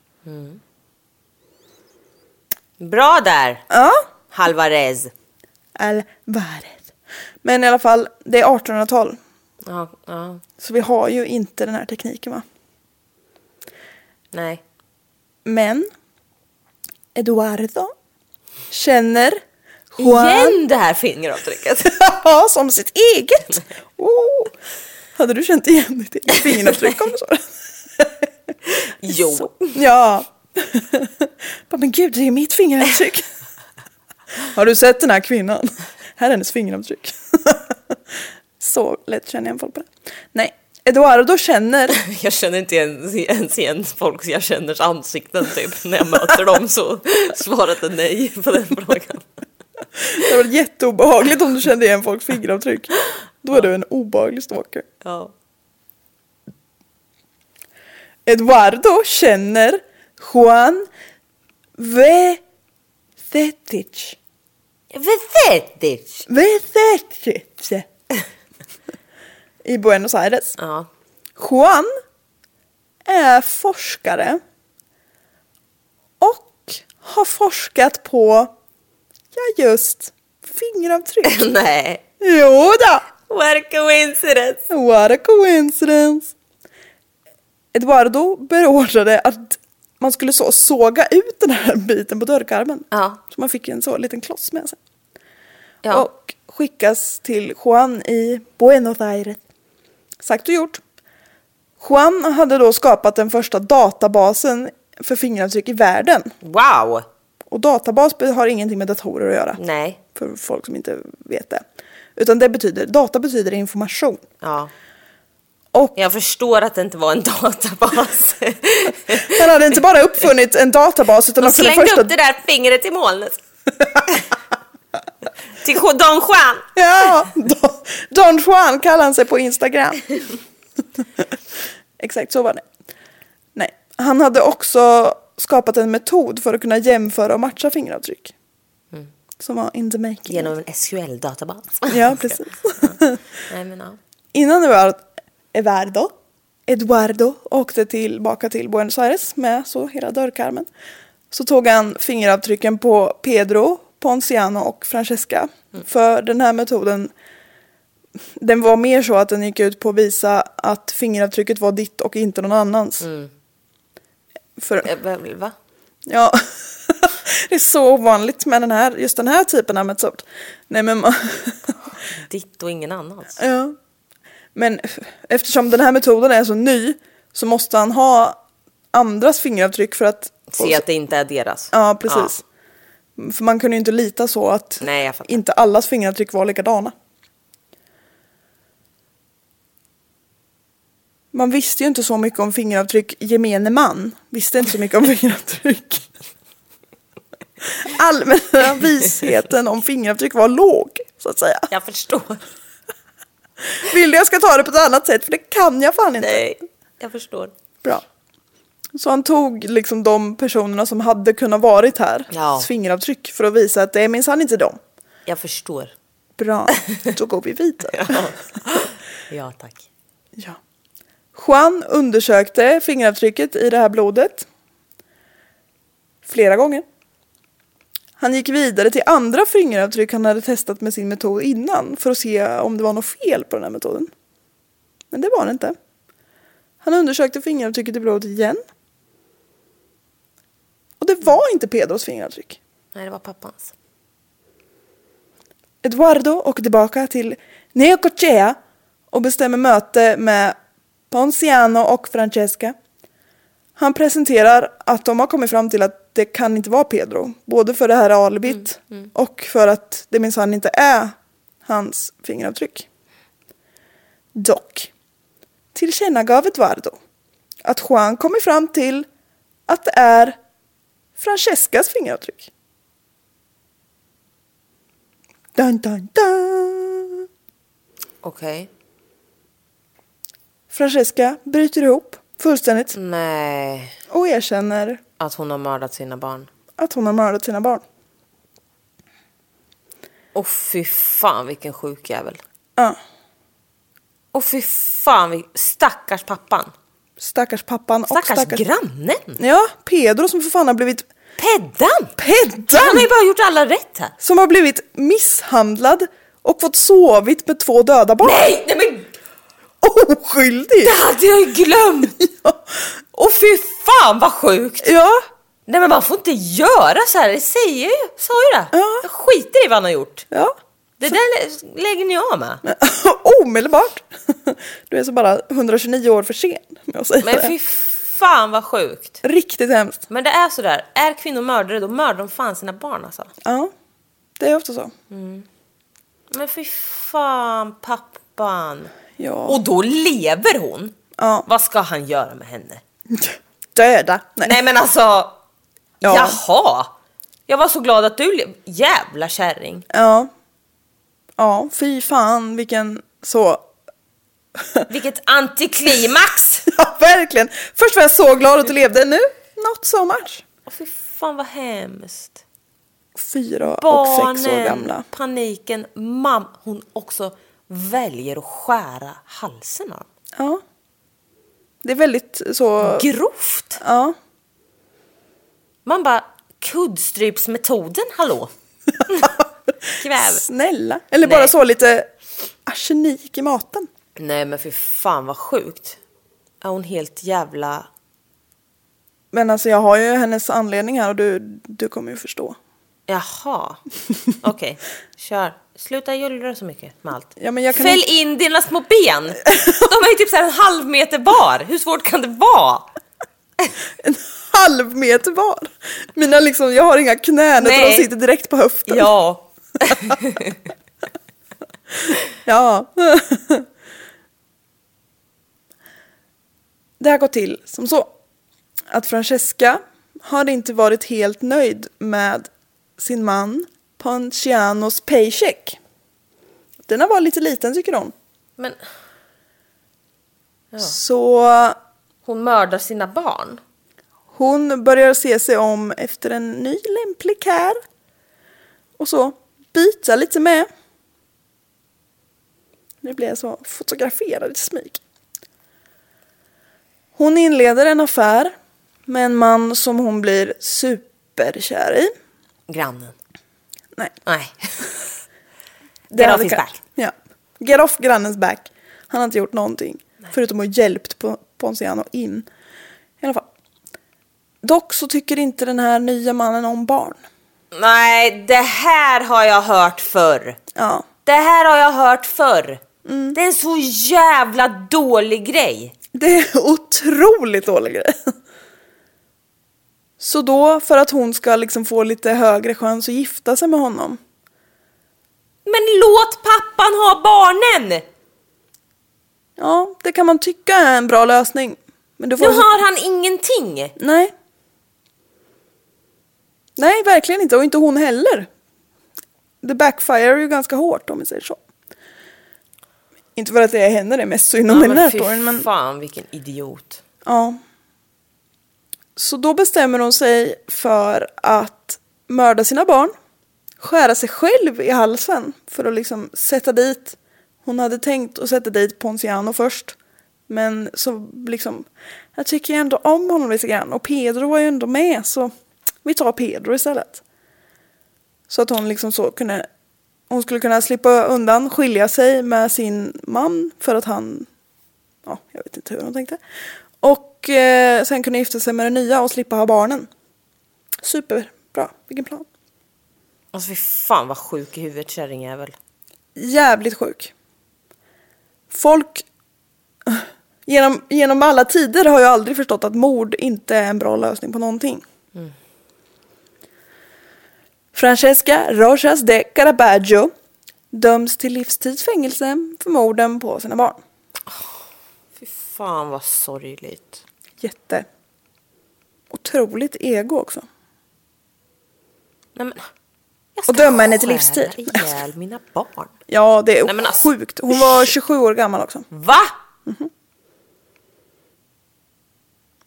Bra där,
Ja,
Halvarez.
Alvarez. Men i alla fall, det är 1800-tal.
Ja, ja,
Så vi har ju inte den här tekniken va.
nej.
Men Eduardo känner
Igen det här *laughs* fingeravtrycket.
*laughs* Ja, som sitt eget. Oh. Hade du känt igen ditt eget fingeravtryck om du sa det?
Jo.
Så. Ja. *laughs* Bara, Men gud, det är mitt fingeravtryck. Har du sett den här kvinnan? Här är hennes fingeravtryck. *laughs* Så lätt känner jag folk på det. Nej, Eduardo känner
Jag känner inte ens, ens igen folks jag känner ansikten typ när jag möter dem så svaret är nej på den frågan. *laughs*
Det hade varit jätteobehagligt om du kände igen folks fingeravtryck. Då är du en obehaglig stalker.
Ja.
Eduardo känner Juan Vesetic.
Vethetic.
Vesetic. I Buenos Aires.
Ja.
Juan är forskare och har forskat på, ja just, fingeravtryck.
Nej.
Jo då.
What a coincidence.
What a coincidence! Eduardo beordrade att man skulle så såga ut den här biten på dörrkarmen.
Ja.
Så man fick en så liten kloss med sig.
Ja.
Och skickas till Juan i Buenos Aires. Sagt och gjort. Juan hade då skapat den första databasen för fingeravtryck i världen.
Wow.
Och databas har ingenting med datorer att göra.
Nej.
För folk som inte vet det. Utan det betyder, data betyder information.
Ja.
Och Alltså,
Jag förstår att det inte var en databas.
*laughs* Han hade inte bara uppfunnit en databas utan
De
också den
slängde
första...
upp det där fingret
*laughs*
i molnet. Till Don Juan.
Ja, Don, Don Juan kallar han sig på
*laughs*
Instagram. Exakt så var det. Nej, han hade också skapat en metod för att kunna jämföra och matcha fingeravtryck.
Mm.
Som var in the making.
Genom en SQL-databas.
*laughs* Ja, precis.
Nej, men ja.
Innan Eduardo, Eduardo, Eduardo åkte tillbaka till Buenos Aires med så hela dörrkarmen så tog han fingeravtrycken på Pedro, Ponciano och Francesca.
Mm.
För den här metoden den var mer så att den gick ut på att visa att fingeravtrycket var ditt och inte någon annans.
Mm.
För,
Eh, va- Va?
Ja. *laughs* Det är så ovanligt med den här, just den här typen av metod. Nej men man,
Ditt och ingen annans.
Ja. Men eftersom den här metoden är så ny så måste han ha andras fingeravtryck för att...
Se att det inte är deras.
Ja, precis. För man kunde ju inte lita så att
Nej, jag fattar.
inte allas fingeravtryck var likadana. Man visste ju inte så mycket om fingeravtryck, gemene man visste inte så mycket om *laughs* fingeravtryck. Allmänna visheten om fingeravtryck var låg, så att säga.
Jag förstår.
Vill du jag ska ta det på ett annat sätt? För det kan jag fan inte.
Nej, jag förstår.
Bra. Så han tog liksom de personerna som hade kunnat varit här,
Ja.
fingeravtryck, för att visa att det är minsann inte dem.
Jag förstår. *laughs*
Bra, då går vi vidare.
Ja, tack.
Ja. Juan undersökte fingeravtrycket i det här blodet flera gånger. Han gick vidare till andra fingeravtryck han hade testat med sin metod innan för att se om det var något fel på den här metoden. Men det var det inte. Han undersökte fingeravtrycket i blodet igen. Och det var inte Pedros fingeravtryck.
Nej, det var pappans.
Eduardo åker tillbaka till Neocochea och bestämmer möte med Ponciano och Francesca. Han presenterar att de har kommit fram till att det kan inte vara Pedro. Både för det här alibit och för att det minsann inte är hans fingeravtryck. Dock tillkännagav Eduardo att Juan kommit fram till att det är Francescas fingeravtryck. Dun, dun, dun.
Okej.
Francesca bryter ihop fullständigt
Nej,
och erkänner
att hon har mördat sina barn.
att hon har mördat sina barn.
Åh fy fan vilken sjuk jävel.
Ja.
Och fy fan, vi- stackars pappan.
Stackars pappan och
Stackars,
stackars...
grannen.
Ja, Pedro som för fan har blivit...
Peddan!
Peddan!
Han har ju bara gjort alla rätt här.
Som har blivit misshandlad och fått sovit med två döda barn.
Nej, nej men
Oskyldig!
det hade jag ju glömt!
Ja.
Och fy fan vad sjukt!
Ja,
Nej men man får inte göra så här, det säger jag ju. Sa ju det.
Ja.
Jag skiter i vad han har gjort.
ja. *laughs*
Det där lä- lägger ni av med.
Omedelbart! Du är så bara 129 år för sen med att säga
Men
det.
fy fan vad sjukt.
Riktigt hemskt.
Men det är sådär, är kvinnor mördare då mördar de fan sina barn alltså.
Ja, det är ofta så.
Men fy fan pappan.
Ja.
Och då lever hon!
Ja.
Vad ska han göra med henne?
Döda. Nej.
Nej men alltså,
Ja.
jaha! Jag var så glad att du le- Jävla kärring!
Ja. Ja, fy fan vilken så... *laughs*
Vilket antiklimax!
Ja, verkligen. Först var jag så glad att du levde, nu not so much.
Åh fy fan vad hemskt.
Fyra och sex år
Barnen,
gamla.
paniken, mam. Hon också väljer att skära halsen av honom.
Ja. Det är väldigt så...
Grovt!
Ja.
Man bara, kuddstrypsmetoden,
*laughs*
hallå? Kväv.
Snälla. Eller
Nej.
bara så lite arsenik i maten.
Nej men fy fan vad sjukt. Är hon helt jävla...
Men alltså jag har ju hennes anledning här och du, du kommer ju förstå. *laughs*
Jaha. Okej, kör. Sluta jollra så mycket med allt.
Ja, men jag kan
Fäll
inte-
in dina små ben! De är ju typ så här en halv meter var. Hur svårt kan det vara?
En halv meter var. Mina liksom, jag har inga knän utan de
Nej.
sitter direkt på höften.
Ja.
Ja. Det här går till som så att Francesca har inte varit helt nöjd med sin man Poncianos paycheck. Denna var lite liten tycker hon.
Men
Så
hon mördar sina barn.
hon börjar se sig om efter en ny lämplig kär. Och så byta lite med. Nu blir jag så fotograferad i smyg. Hon inleder en affär med en man som hon blir superkär i.
Grannen.
Nej.
Nej.
det
Get
hade
off his
kan-
back.
Ja. Get off grannens back. Han har inte gjort någonting. Förutom att hjälpt Po- Ponciano in. I alla fall. Dock så tycker inte den här nya mannen om barn.
Nej, det här har jag hört förr.
Ja.
Det här har jag hört förr.
Mm.
Det är en så jävla dålig grej.
Det är otroligt dålig grej. Så då, för att hon ska liksom få lite högre chans att gifta sig med honom.
Men låt pappan ha barnen!
Ja, det kan man tycka är en bra lösning. Men du
Nu
får...
har han ingenting.
Nej. Nej, verkligen inte. Och inte hon heller. Det backfire ju ganska hårt om vi säger så. Inte för att det är henne det är mest synd om i den här storyn, men...
fan vilken idiot.
Ja. Så då bestämmer hon sig för att mörda sina barn, skära sig själv i halsen för att liksom sätta dit. Hon hade tänkt att sätta dit Ponciano först. Men så liksom, jag tycker ju ändå om honom lite grann och Pedro var ju ändå med så vi tar Pedro istället. Så att hon liksom så kunde, hon skulle kunna slippa undan skilja sig med sin man för att han ja, jag vet inte hur hon tänkte. Och eh, sen kunna gifta sig med den nya och slippa ha barnen. Superbra, vilken plan.
Alltså fy fan vad sjuk i huvudet kärringjävel.
Jävligt sjuk. Folk *sighs* genom, genom alla tider har jag aldrig förstått att mord inte är en bra lösning på någonting. Francesca Rojas de Carabaggio döms till livstidsfängelse för morden på sina barn.
Fy fan vad sorgligt.
Jätte. Otroligt ego också.
Nej, men, jag
Och döma henne till
skära
livstid. *laughs*
ihjäl mina barn.
Ja, det är
Nej, men alltså-
sjukt. Hon var 27 år gammal också.
Va?
Mhm.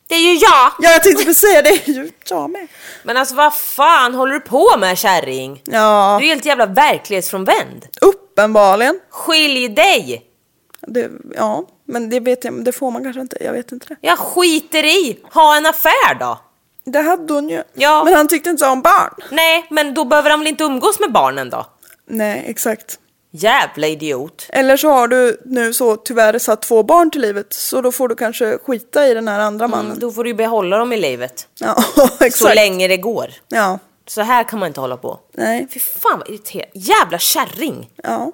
Det är ju jag!
Ja, jag tänkte precis säga det. *laughs* är ju Jag med.
Men alltså vad fan håller du på med kärring?
Ja,
Du är helt jävla verklighetsfrånvänd.
uppenbarligen.
Skilj dig!
Det, ja, men det, vet jag, det får man kanske inte. Jag vet inte det.
Jag skiter i! Ha en affär då!
Det hade hon ju.
Ja.
Men han tyckte inte om barn.
Nej, men då behöver han väl inte umgås med barnen då?
Nej, exakt.
Jävla idiot!
Eller så har du nu så tyvärr satt två barn till livet så då får du kanske skita i den här andra mannen.
Då får du ju behålla dem i livet.
Ja, *laughs* exakt.
Mm. Så länge det går.
Ja,
Så här kan man inte hålla på.
nej,
Fy fan vad irriterande. Jävla kärring!
ja,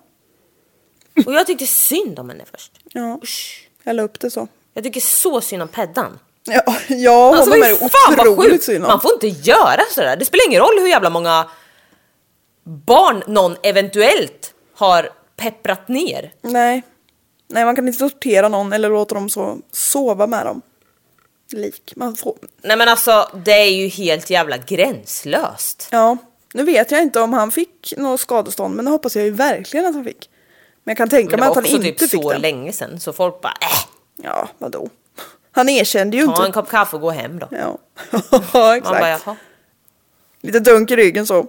Och jag tyckte synd om henne först.
ja.
Usch.
Jag la upp det så.
Jag tycker så synd om Peddan.
Ja, *laughs* jag
Alltså,
håller med
vad
dig.
fan vad
Otroligt
sjukt.
synd om.
Man får inte göra sådär. Det spelar ingen roll hur jävla många barn någon eventuellt har pepprat ner.
Nej. nej, man kan inte tortera någon eller låta dem så sova med dem. Lik. Man får...
Nej men alltså det är ju helt jävla gränslöst.
Ja, nu vet jag inte om han fick något skadestånd men det hoppas jag ju verkligen att han fick. Men jag kan tänka
Men det
mig
var
att han
också
inte
typ så
fick det.
länge sedan så folk bara äh,
Ja, vadå? Han erkände ju
ta en
inte.
kopp kaffe och gå hem då.
Ja, *laughs* ja
Man bara
exakt.
jaha.
Lite dunk i ryggen så.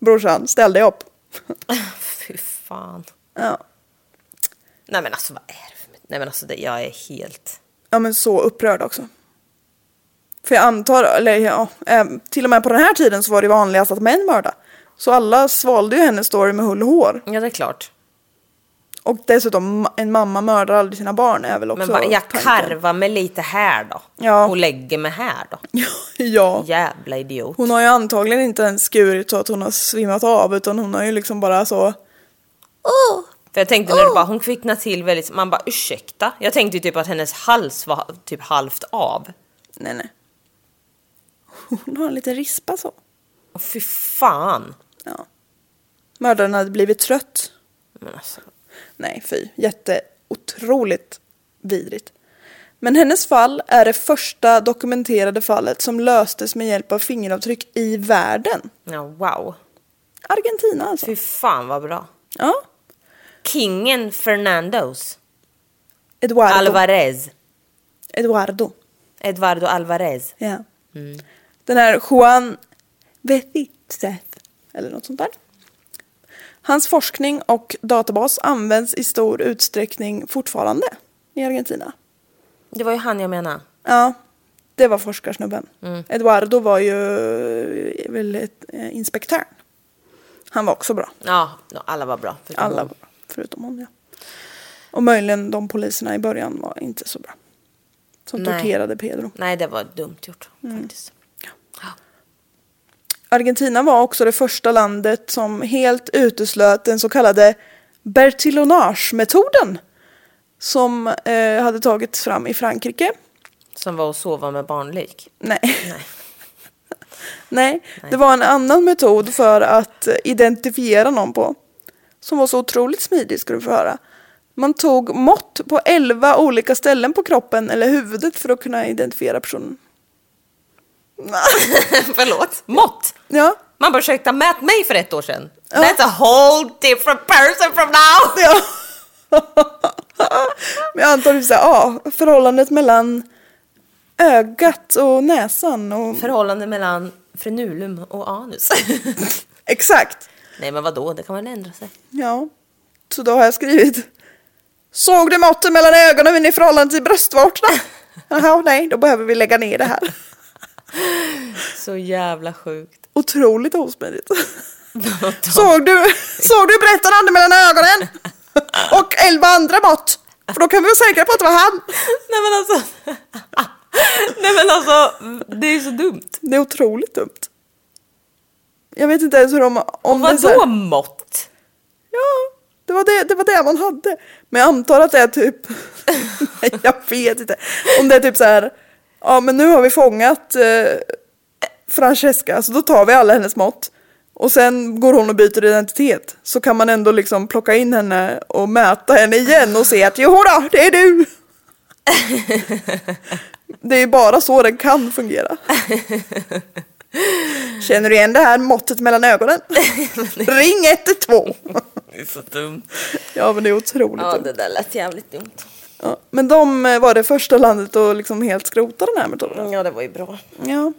Brorsan, ställ dig upp. *laughs*
*laughs* Fy fan.
Ja.
Nej men alltså vad är det för Nej men alltså det, jag är helt...
ja, men så upprörd också. För jag antar, eller ja, eh, till och med på den här tiden så var det vanligast att män mördade. Så alla svalde ju hennes story med hull och hår.
Ja det är klart.
Och dessutom, ma- en mamma mördar aldrig sina barn är väl också
Men bara, jag
tanken.
karvar mig lite här då.
Ja.
Och lägger mig här då.
ja. *laughs*
Jävla idiot.
Hon har ju antagligen inte ens skurit så att hon har svimmat av utan hon har ju liksom bara så...
Åh! För jag tänkte när du bara, hon kvicknade till väldigt, man bara ursäkta? Jag tänkte ju typ att hennes hals var typ halvt av.
Nej, nej. *laughs* Hon har en liten rispa så.
Åh, fy fan!
Ja. Mördaren hade blivit trött.
Men alltså,
Nej, fy. Jätte, otroligt vidrigt. Men hennes fall är det första dokumenterade fallet som löstes med hjälp av fingeravtryck i världen.
ja, wow.
Argentina alltså.
Fy fan vad bra.
Ja.
Kingen Fernandos.
Eduardo.
Alvarez.
Eduardo.
Eduardo Alvarez.
Ja. Den här Juan Bethitzeff, eller något sånt där. Hans forskning och databas används i stor utsträckning fortfarande i Argentina.
Det var ju han jag menade.
Ja, det var forskarsnubben. Eduardo var ju eh, väl ett, eh, inspektör. Han var också bra.
Ja, alla var bra. förutom
Alla
hon.
var bra, förutom hon ja. Och möjligen de poliserna i början var inte så bra. Som
Nej.
torterade Pedro.
Nej, det var dumt gjort
Mm.
faktiskt.
Argentina var också det första landet som helt uteslöt den så kallade Bertillonage-metoden. Som eh, hade tagits fram i Frankrike.
Som var att sova med barnlik.
Nej. Nej. det var en annan metod för att identifiera någon på. Som var så otroligt smidig ska du få höra. Man tog mått på elva olika ställen på kroppen eller huvudet för att kunna identifiera personen.
*laughs*
*laughs*
Förlåt. Mått!
Ja,
Man bara ursäkta, mät mig för ett år sedan. That's a whole different person from now!
Ja. Men jag antar att säga, ja, förhållandet mellan ögat och näsan och...
Förhållande mellan frenulum och *laughs* anus.
Exakt!
Nej men vadå, det kan väl ändra sig.
Ja. Så då har jag skrivit. Såg du måtten mellan ögonen i förhållande till bröstvårtorna? Jaha, nej, då behöver vi lägga ner det här.
Så jävla sjukt.
Otroligt osmidigt. Såg du, såg du brättaranden mellan ögonen? Och elva andra mått? För då kan vi vara säkra på att det var han.
Nej men alltså. *laughs* Nej men alltså, det är ju så dumt.
Det är otroligt dumt. Jag vet inte ens hur de... Om det är så här-
Vadå mått?
Ja, det var det, det var det man hade. Men jag antar att det är typ... *laughs* Nej, jag vet inte. Om det är typ så här... Ja, men nu har vi fångat eh, Francesca, så då tar vi alla hennes mått. Och sen går hon och byter identitet. Så kan man ändå liksom plocka in henne och mäta henne igen och se att jodå, det är du! Det är ju bara så den kan fungera. Känner du igen det här måttet mellan ögonen? Ring 112!
Det är så dumt.
Ja men det är otroligt.
Ja
Ja,
det där lät jävligt dumt.
Ja. Men de eh, var det första landet att liksom helt skrota den här metoden.
Ja det var ju bra.
Ja.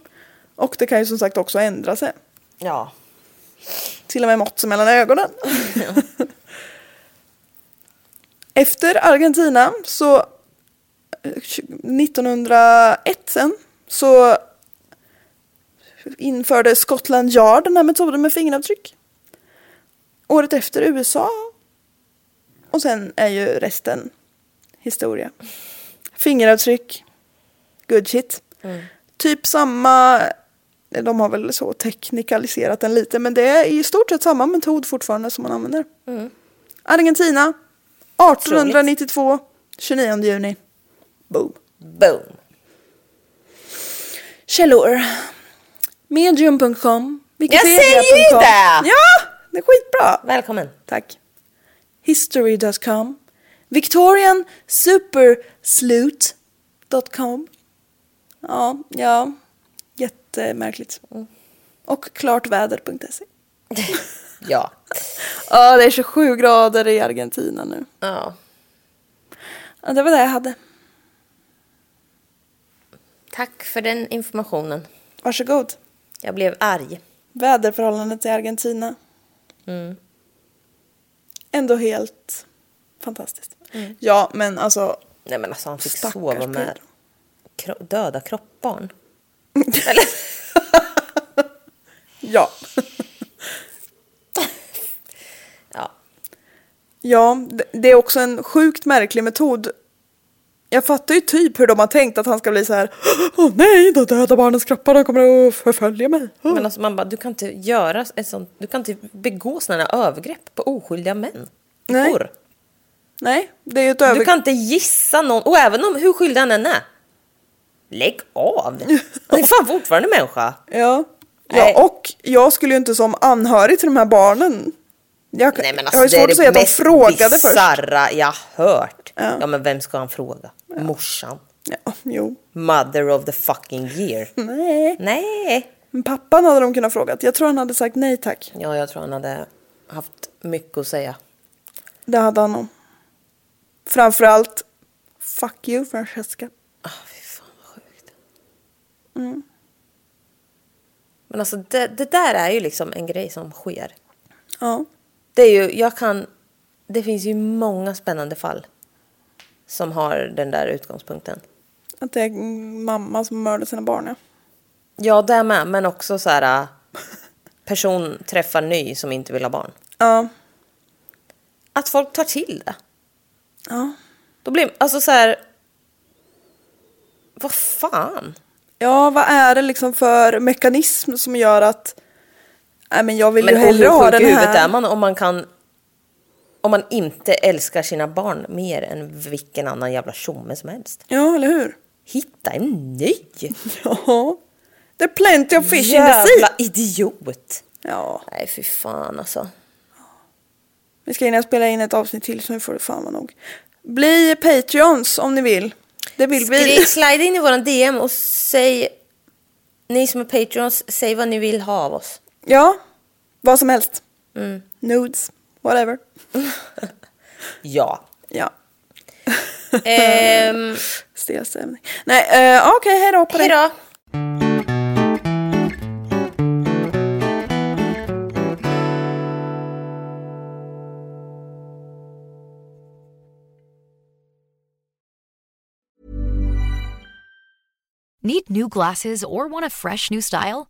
Och det kan ju som sagt också ändra sig.
Ja.
Till och med mått mellan ögonen. Efter Argentina så eh, 1901 sen så införde Scotland Yard den här metoden med fingeravtryck. Året efter USA. Och sen är ju resten historia. Fingeravtryck. Good shit. Typ samma, de har väl så teknikaliserat den lite men det är i stort sett samma metod fortfarande som man använder. Argentina 1892 29 juni. Boom.
Boom.
Källor. Medium.com. Wikipedia.com.
säger ju det!
Ja, det är skitbra.
Välkommen.
Tack. History.com. Victorian Superslut.com. Ja, ja. Jättemärkligt. Och klartväder.se.
Ja.
Ja, det är 27 grader i Argentina nu.
ja.
Ja, det var det jag hade.
Tack för den informationen.
Varsågod.
Jag blev arg.
Väderförhållandet i Argentina. Mm. Ändå helt fantastiskt. Ja, men alltså.
Nej men alltså han fick
Stackars
sova med
Pedro.
kro- döda kroppbarn.
Ja.
Ja.
Ja, det- det är också en sjukt märklig metod. Jag fattar ju typ hur de har tänkt att han ska bli så här. *gasps* Åh nej, de döda barnens kroppar de kommer att förfölja mig.
Men alltså man bara, du kan inte göra ett sånt, du kan inte begå sådana övergrepp på oskyldiga män.
Nej.
Or.
Nej, det är ju ett
Du
övergrepp.
kan inte gissa någon, och även om hur skyldig han än är. Lägg
*laughs*
av! Han är fan fortfarande människa.
Ja.
Nej.
ja, och jag skulle ju inte som anhörig till de här barnen. Jag,
Nej, men
jag har
alltså,
ju svårt att säga att de frågade först.
bisarra jag hört. Ja. men vem ska han fråga? Morsan?
Ja, jo.
Mother of the fucking year?
Nej.
Nej!
Men pappan hade de kunnat frågat. Jag tror han hade sagt nej tack.
Ja, jag tror han hade haft mycket att säga.
Det hade han nog. Framförallt, fuck you Francesca.
Ah, fy fan vad sjukt. Mm. Men alltså det, det där är ju liksom en grej som sker.
Ja.
Det är ju, jag kan, det finns ju många spännande fall som har den där utgångspunkten.
Att det är en mamma som mördar sina barn ja.
Ja, det med, men också så här äh, person träffar ny som inte vill ha barn.
Ja.
Att folk tar till det.
Ja.
Då blir alltså så här. Vad fan?
Ja, vad är det liksom för mekanism som gör att nej men jag vill
Men
ju
hur
hellre ha
sjuk
den
i huvudet är
här.
man om man kan... Om man inte älskar sina barn mer än vilken annan jävla tjomme som helst.
Ja, eller hur?
Hitta en ny!
Ja. Det är plenty of fish in the sea.
Jävla idiot!
Ja,
Nej, fy fan alltså.
vi ska hinna spela in ett avsnitt till så nu får det fan vara nog. Bli Patreons om ni vill. Det vill vi.
Skri- Slide in i våran DM och säg... Ni som är patreons, säg vad ni vill ha av oss.
Ja, vad som helst.
Mm.
Nudes, whatever.
Ja.
Ja,
Ehm,
*laughs* stel stämning. Nej, eh, okej, hej då på dig.
hej då!
Need new glasses or want a fresh new style?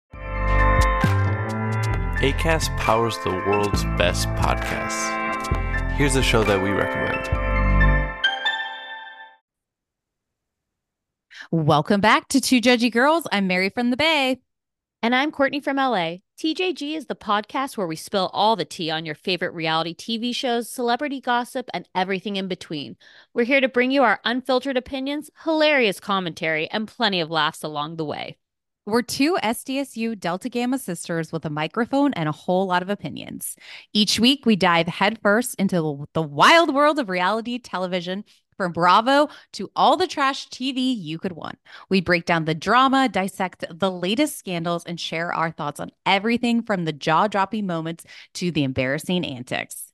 ACAST powers the world's best podcasts. Here's a show that we recommend.
Welcome back to Two Judgy Girls. I'm Mary from the Bay.
And I'm Courtney from LA. TJG is the podcast where we spill all the tea on your favorite reality TV shows, celebrity gossip, and everything in between. We're here to bring you our unfiltered opinions, hilarious commentary, and plenty of laughs along the way.
We're two SDSU Delta Gamma sisters with a microphone and a whole lot of opinions. Each week, we dive headfirst into the wild world of reality television from Bravo to all the trash TV you could want. We break down the drama, dissect the latest scandals, and share our thoughts on everything from the jaw dropping moments to the embarrassing antics.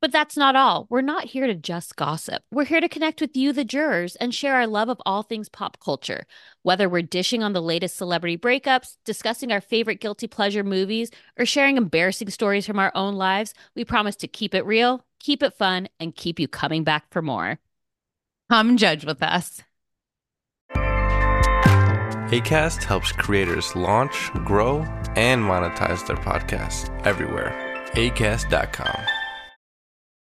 But that's not all. We're not here to just gossip. We're here to connect with you, the jurors, and share our love of all things pop culture. Whether we're dishing on the latest celebrity breakups, discussing our favorite guilty pleasure movies, or sharing embarrassing stories from our own lives, we promise to keep it real, keep it fun, and keep you coming back for more.
Come judge with us.
ACAST helps creators launch, grow, and monetize their podcasts everywhere. ACAST.com.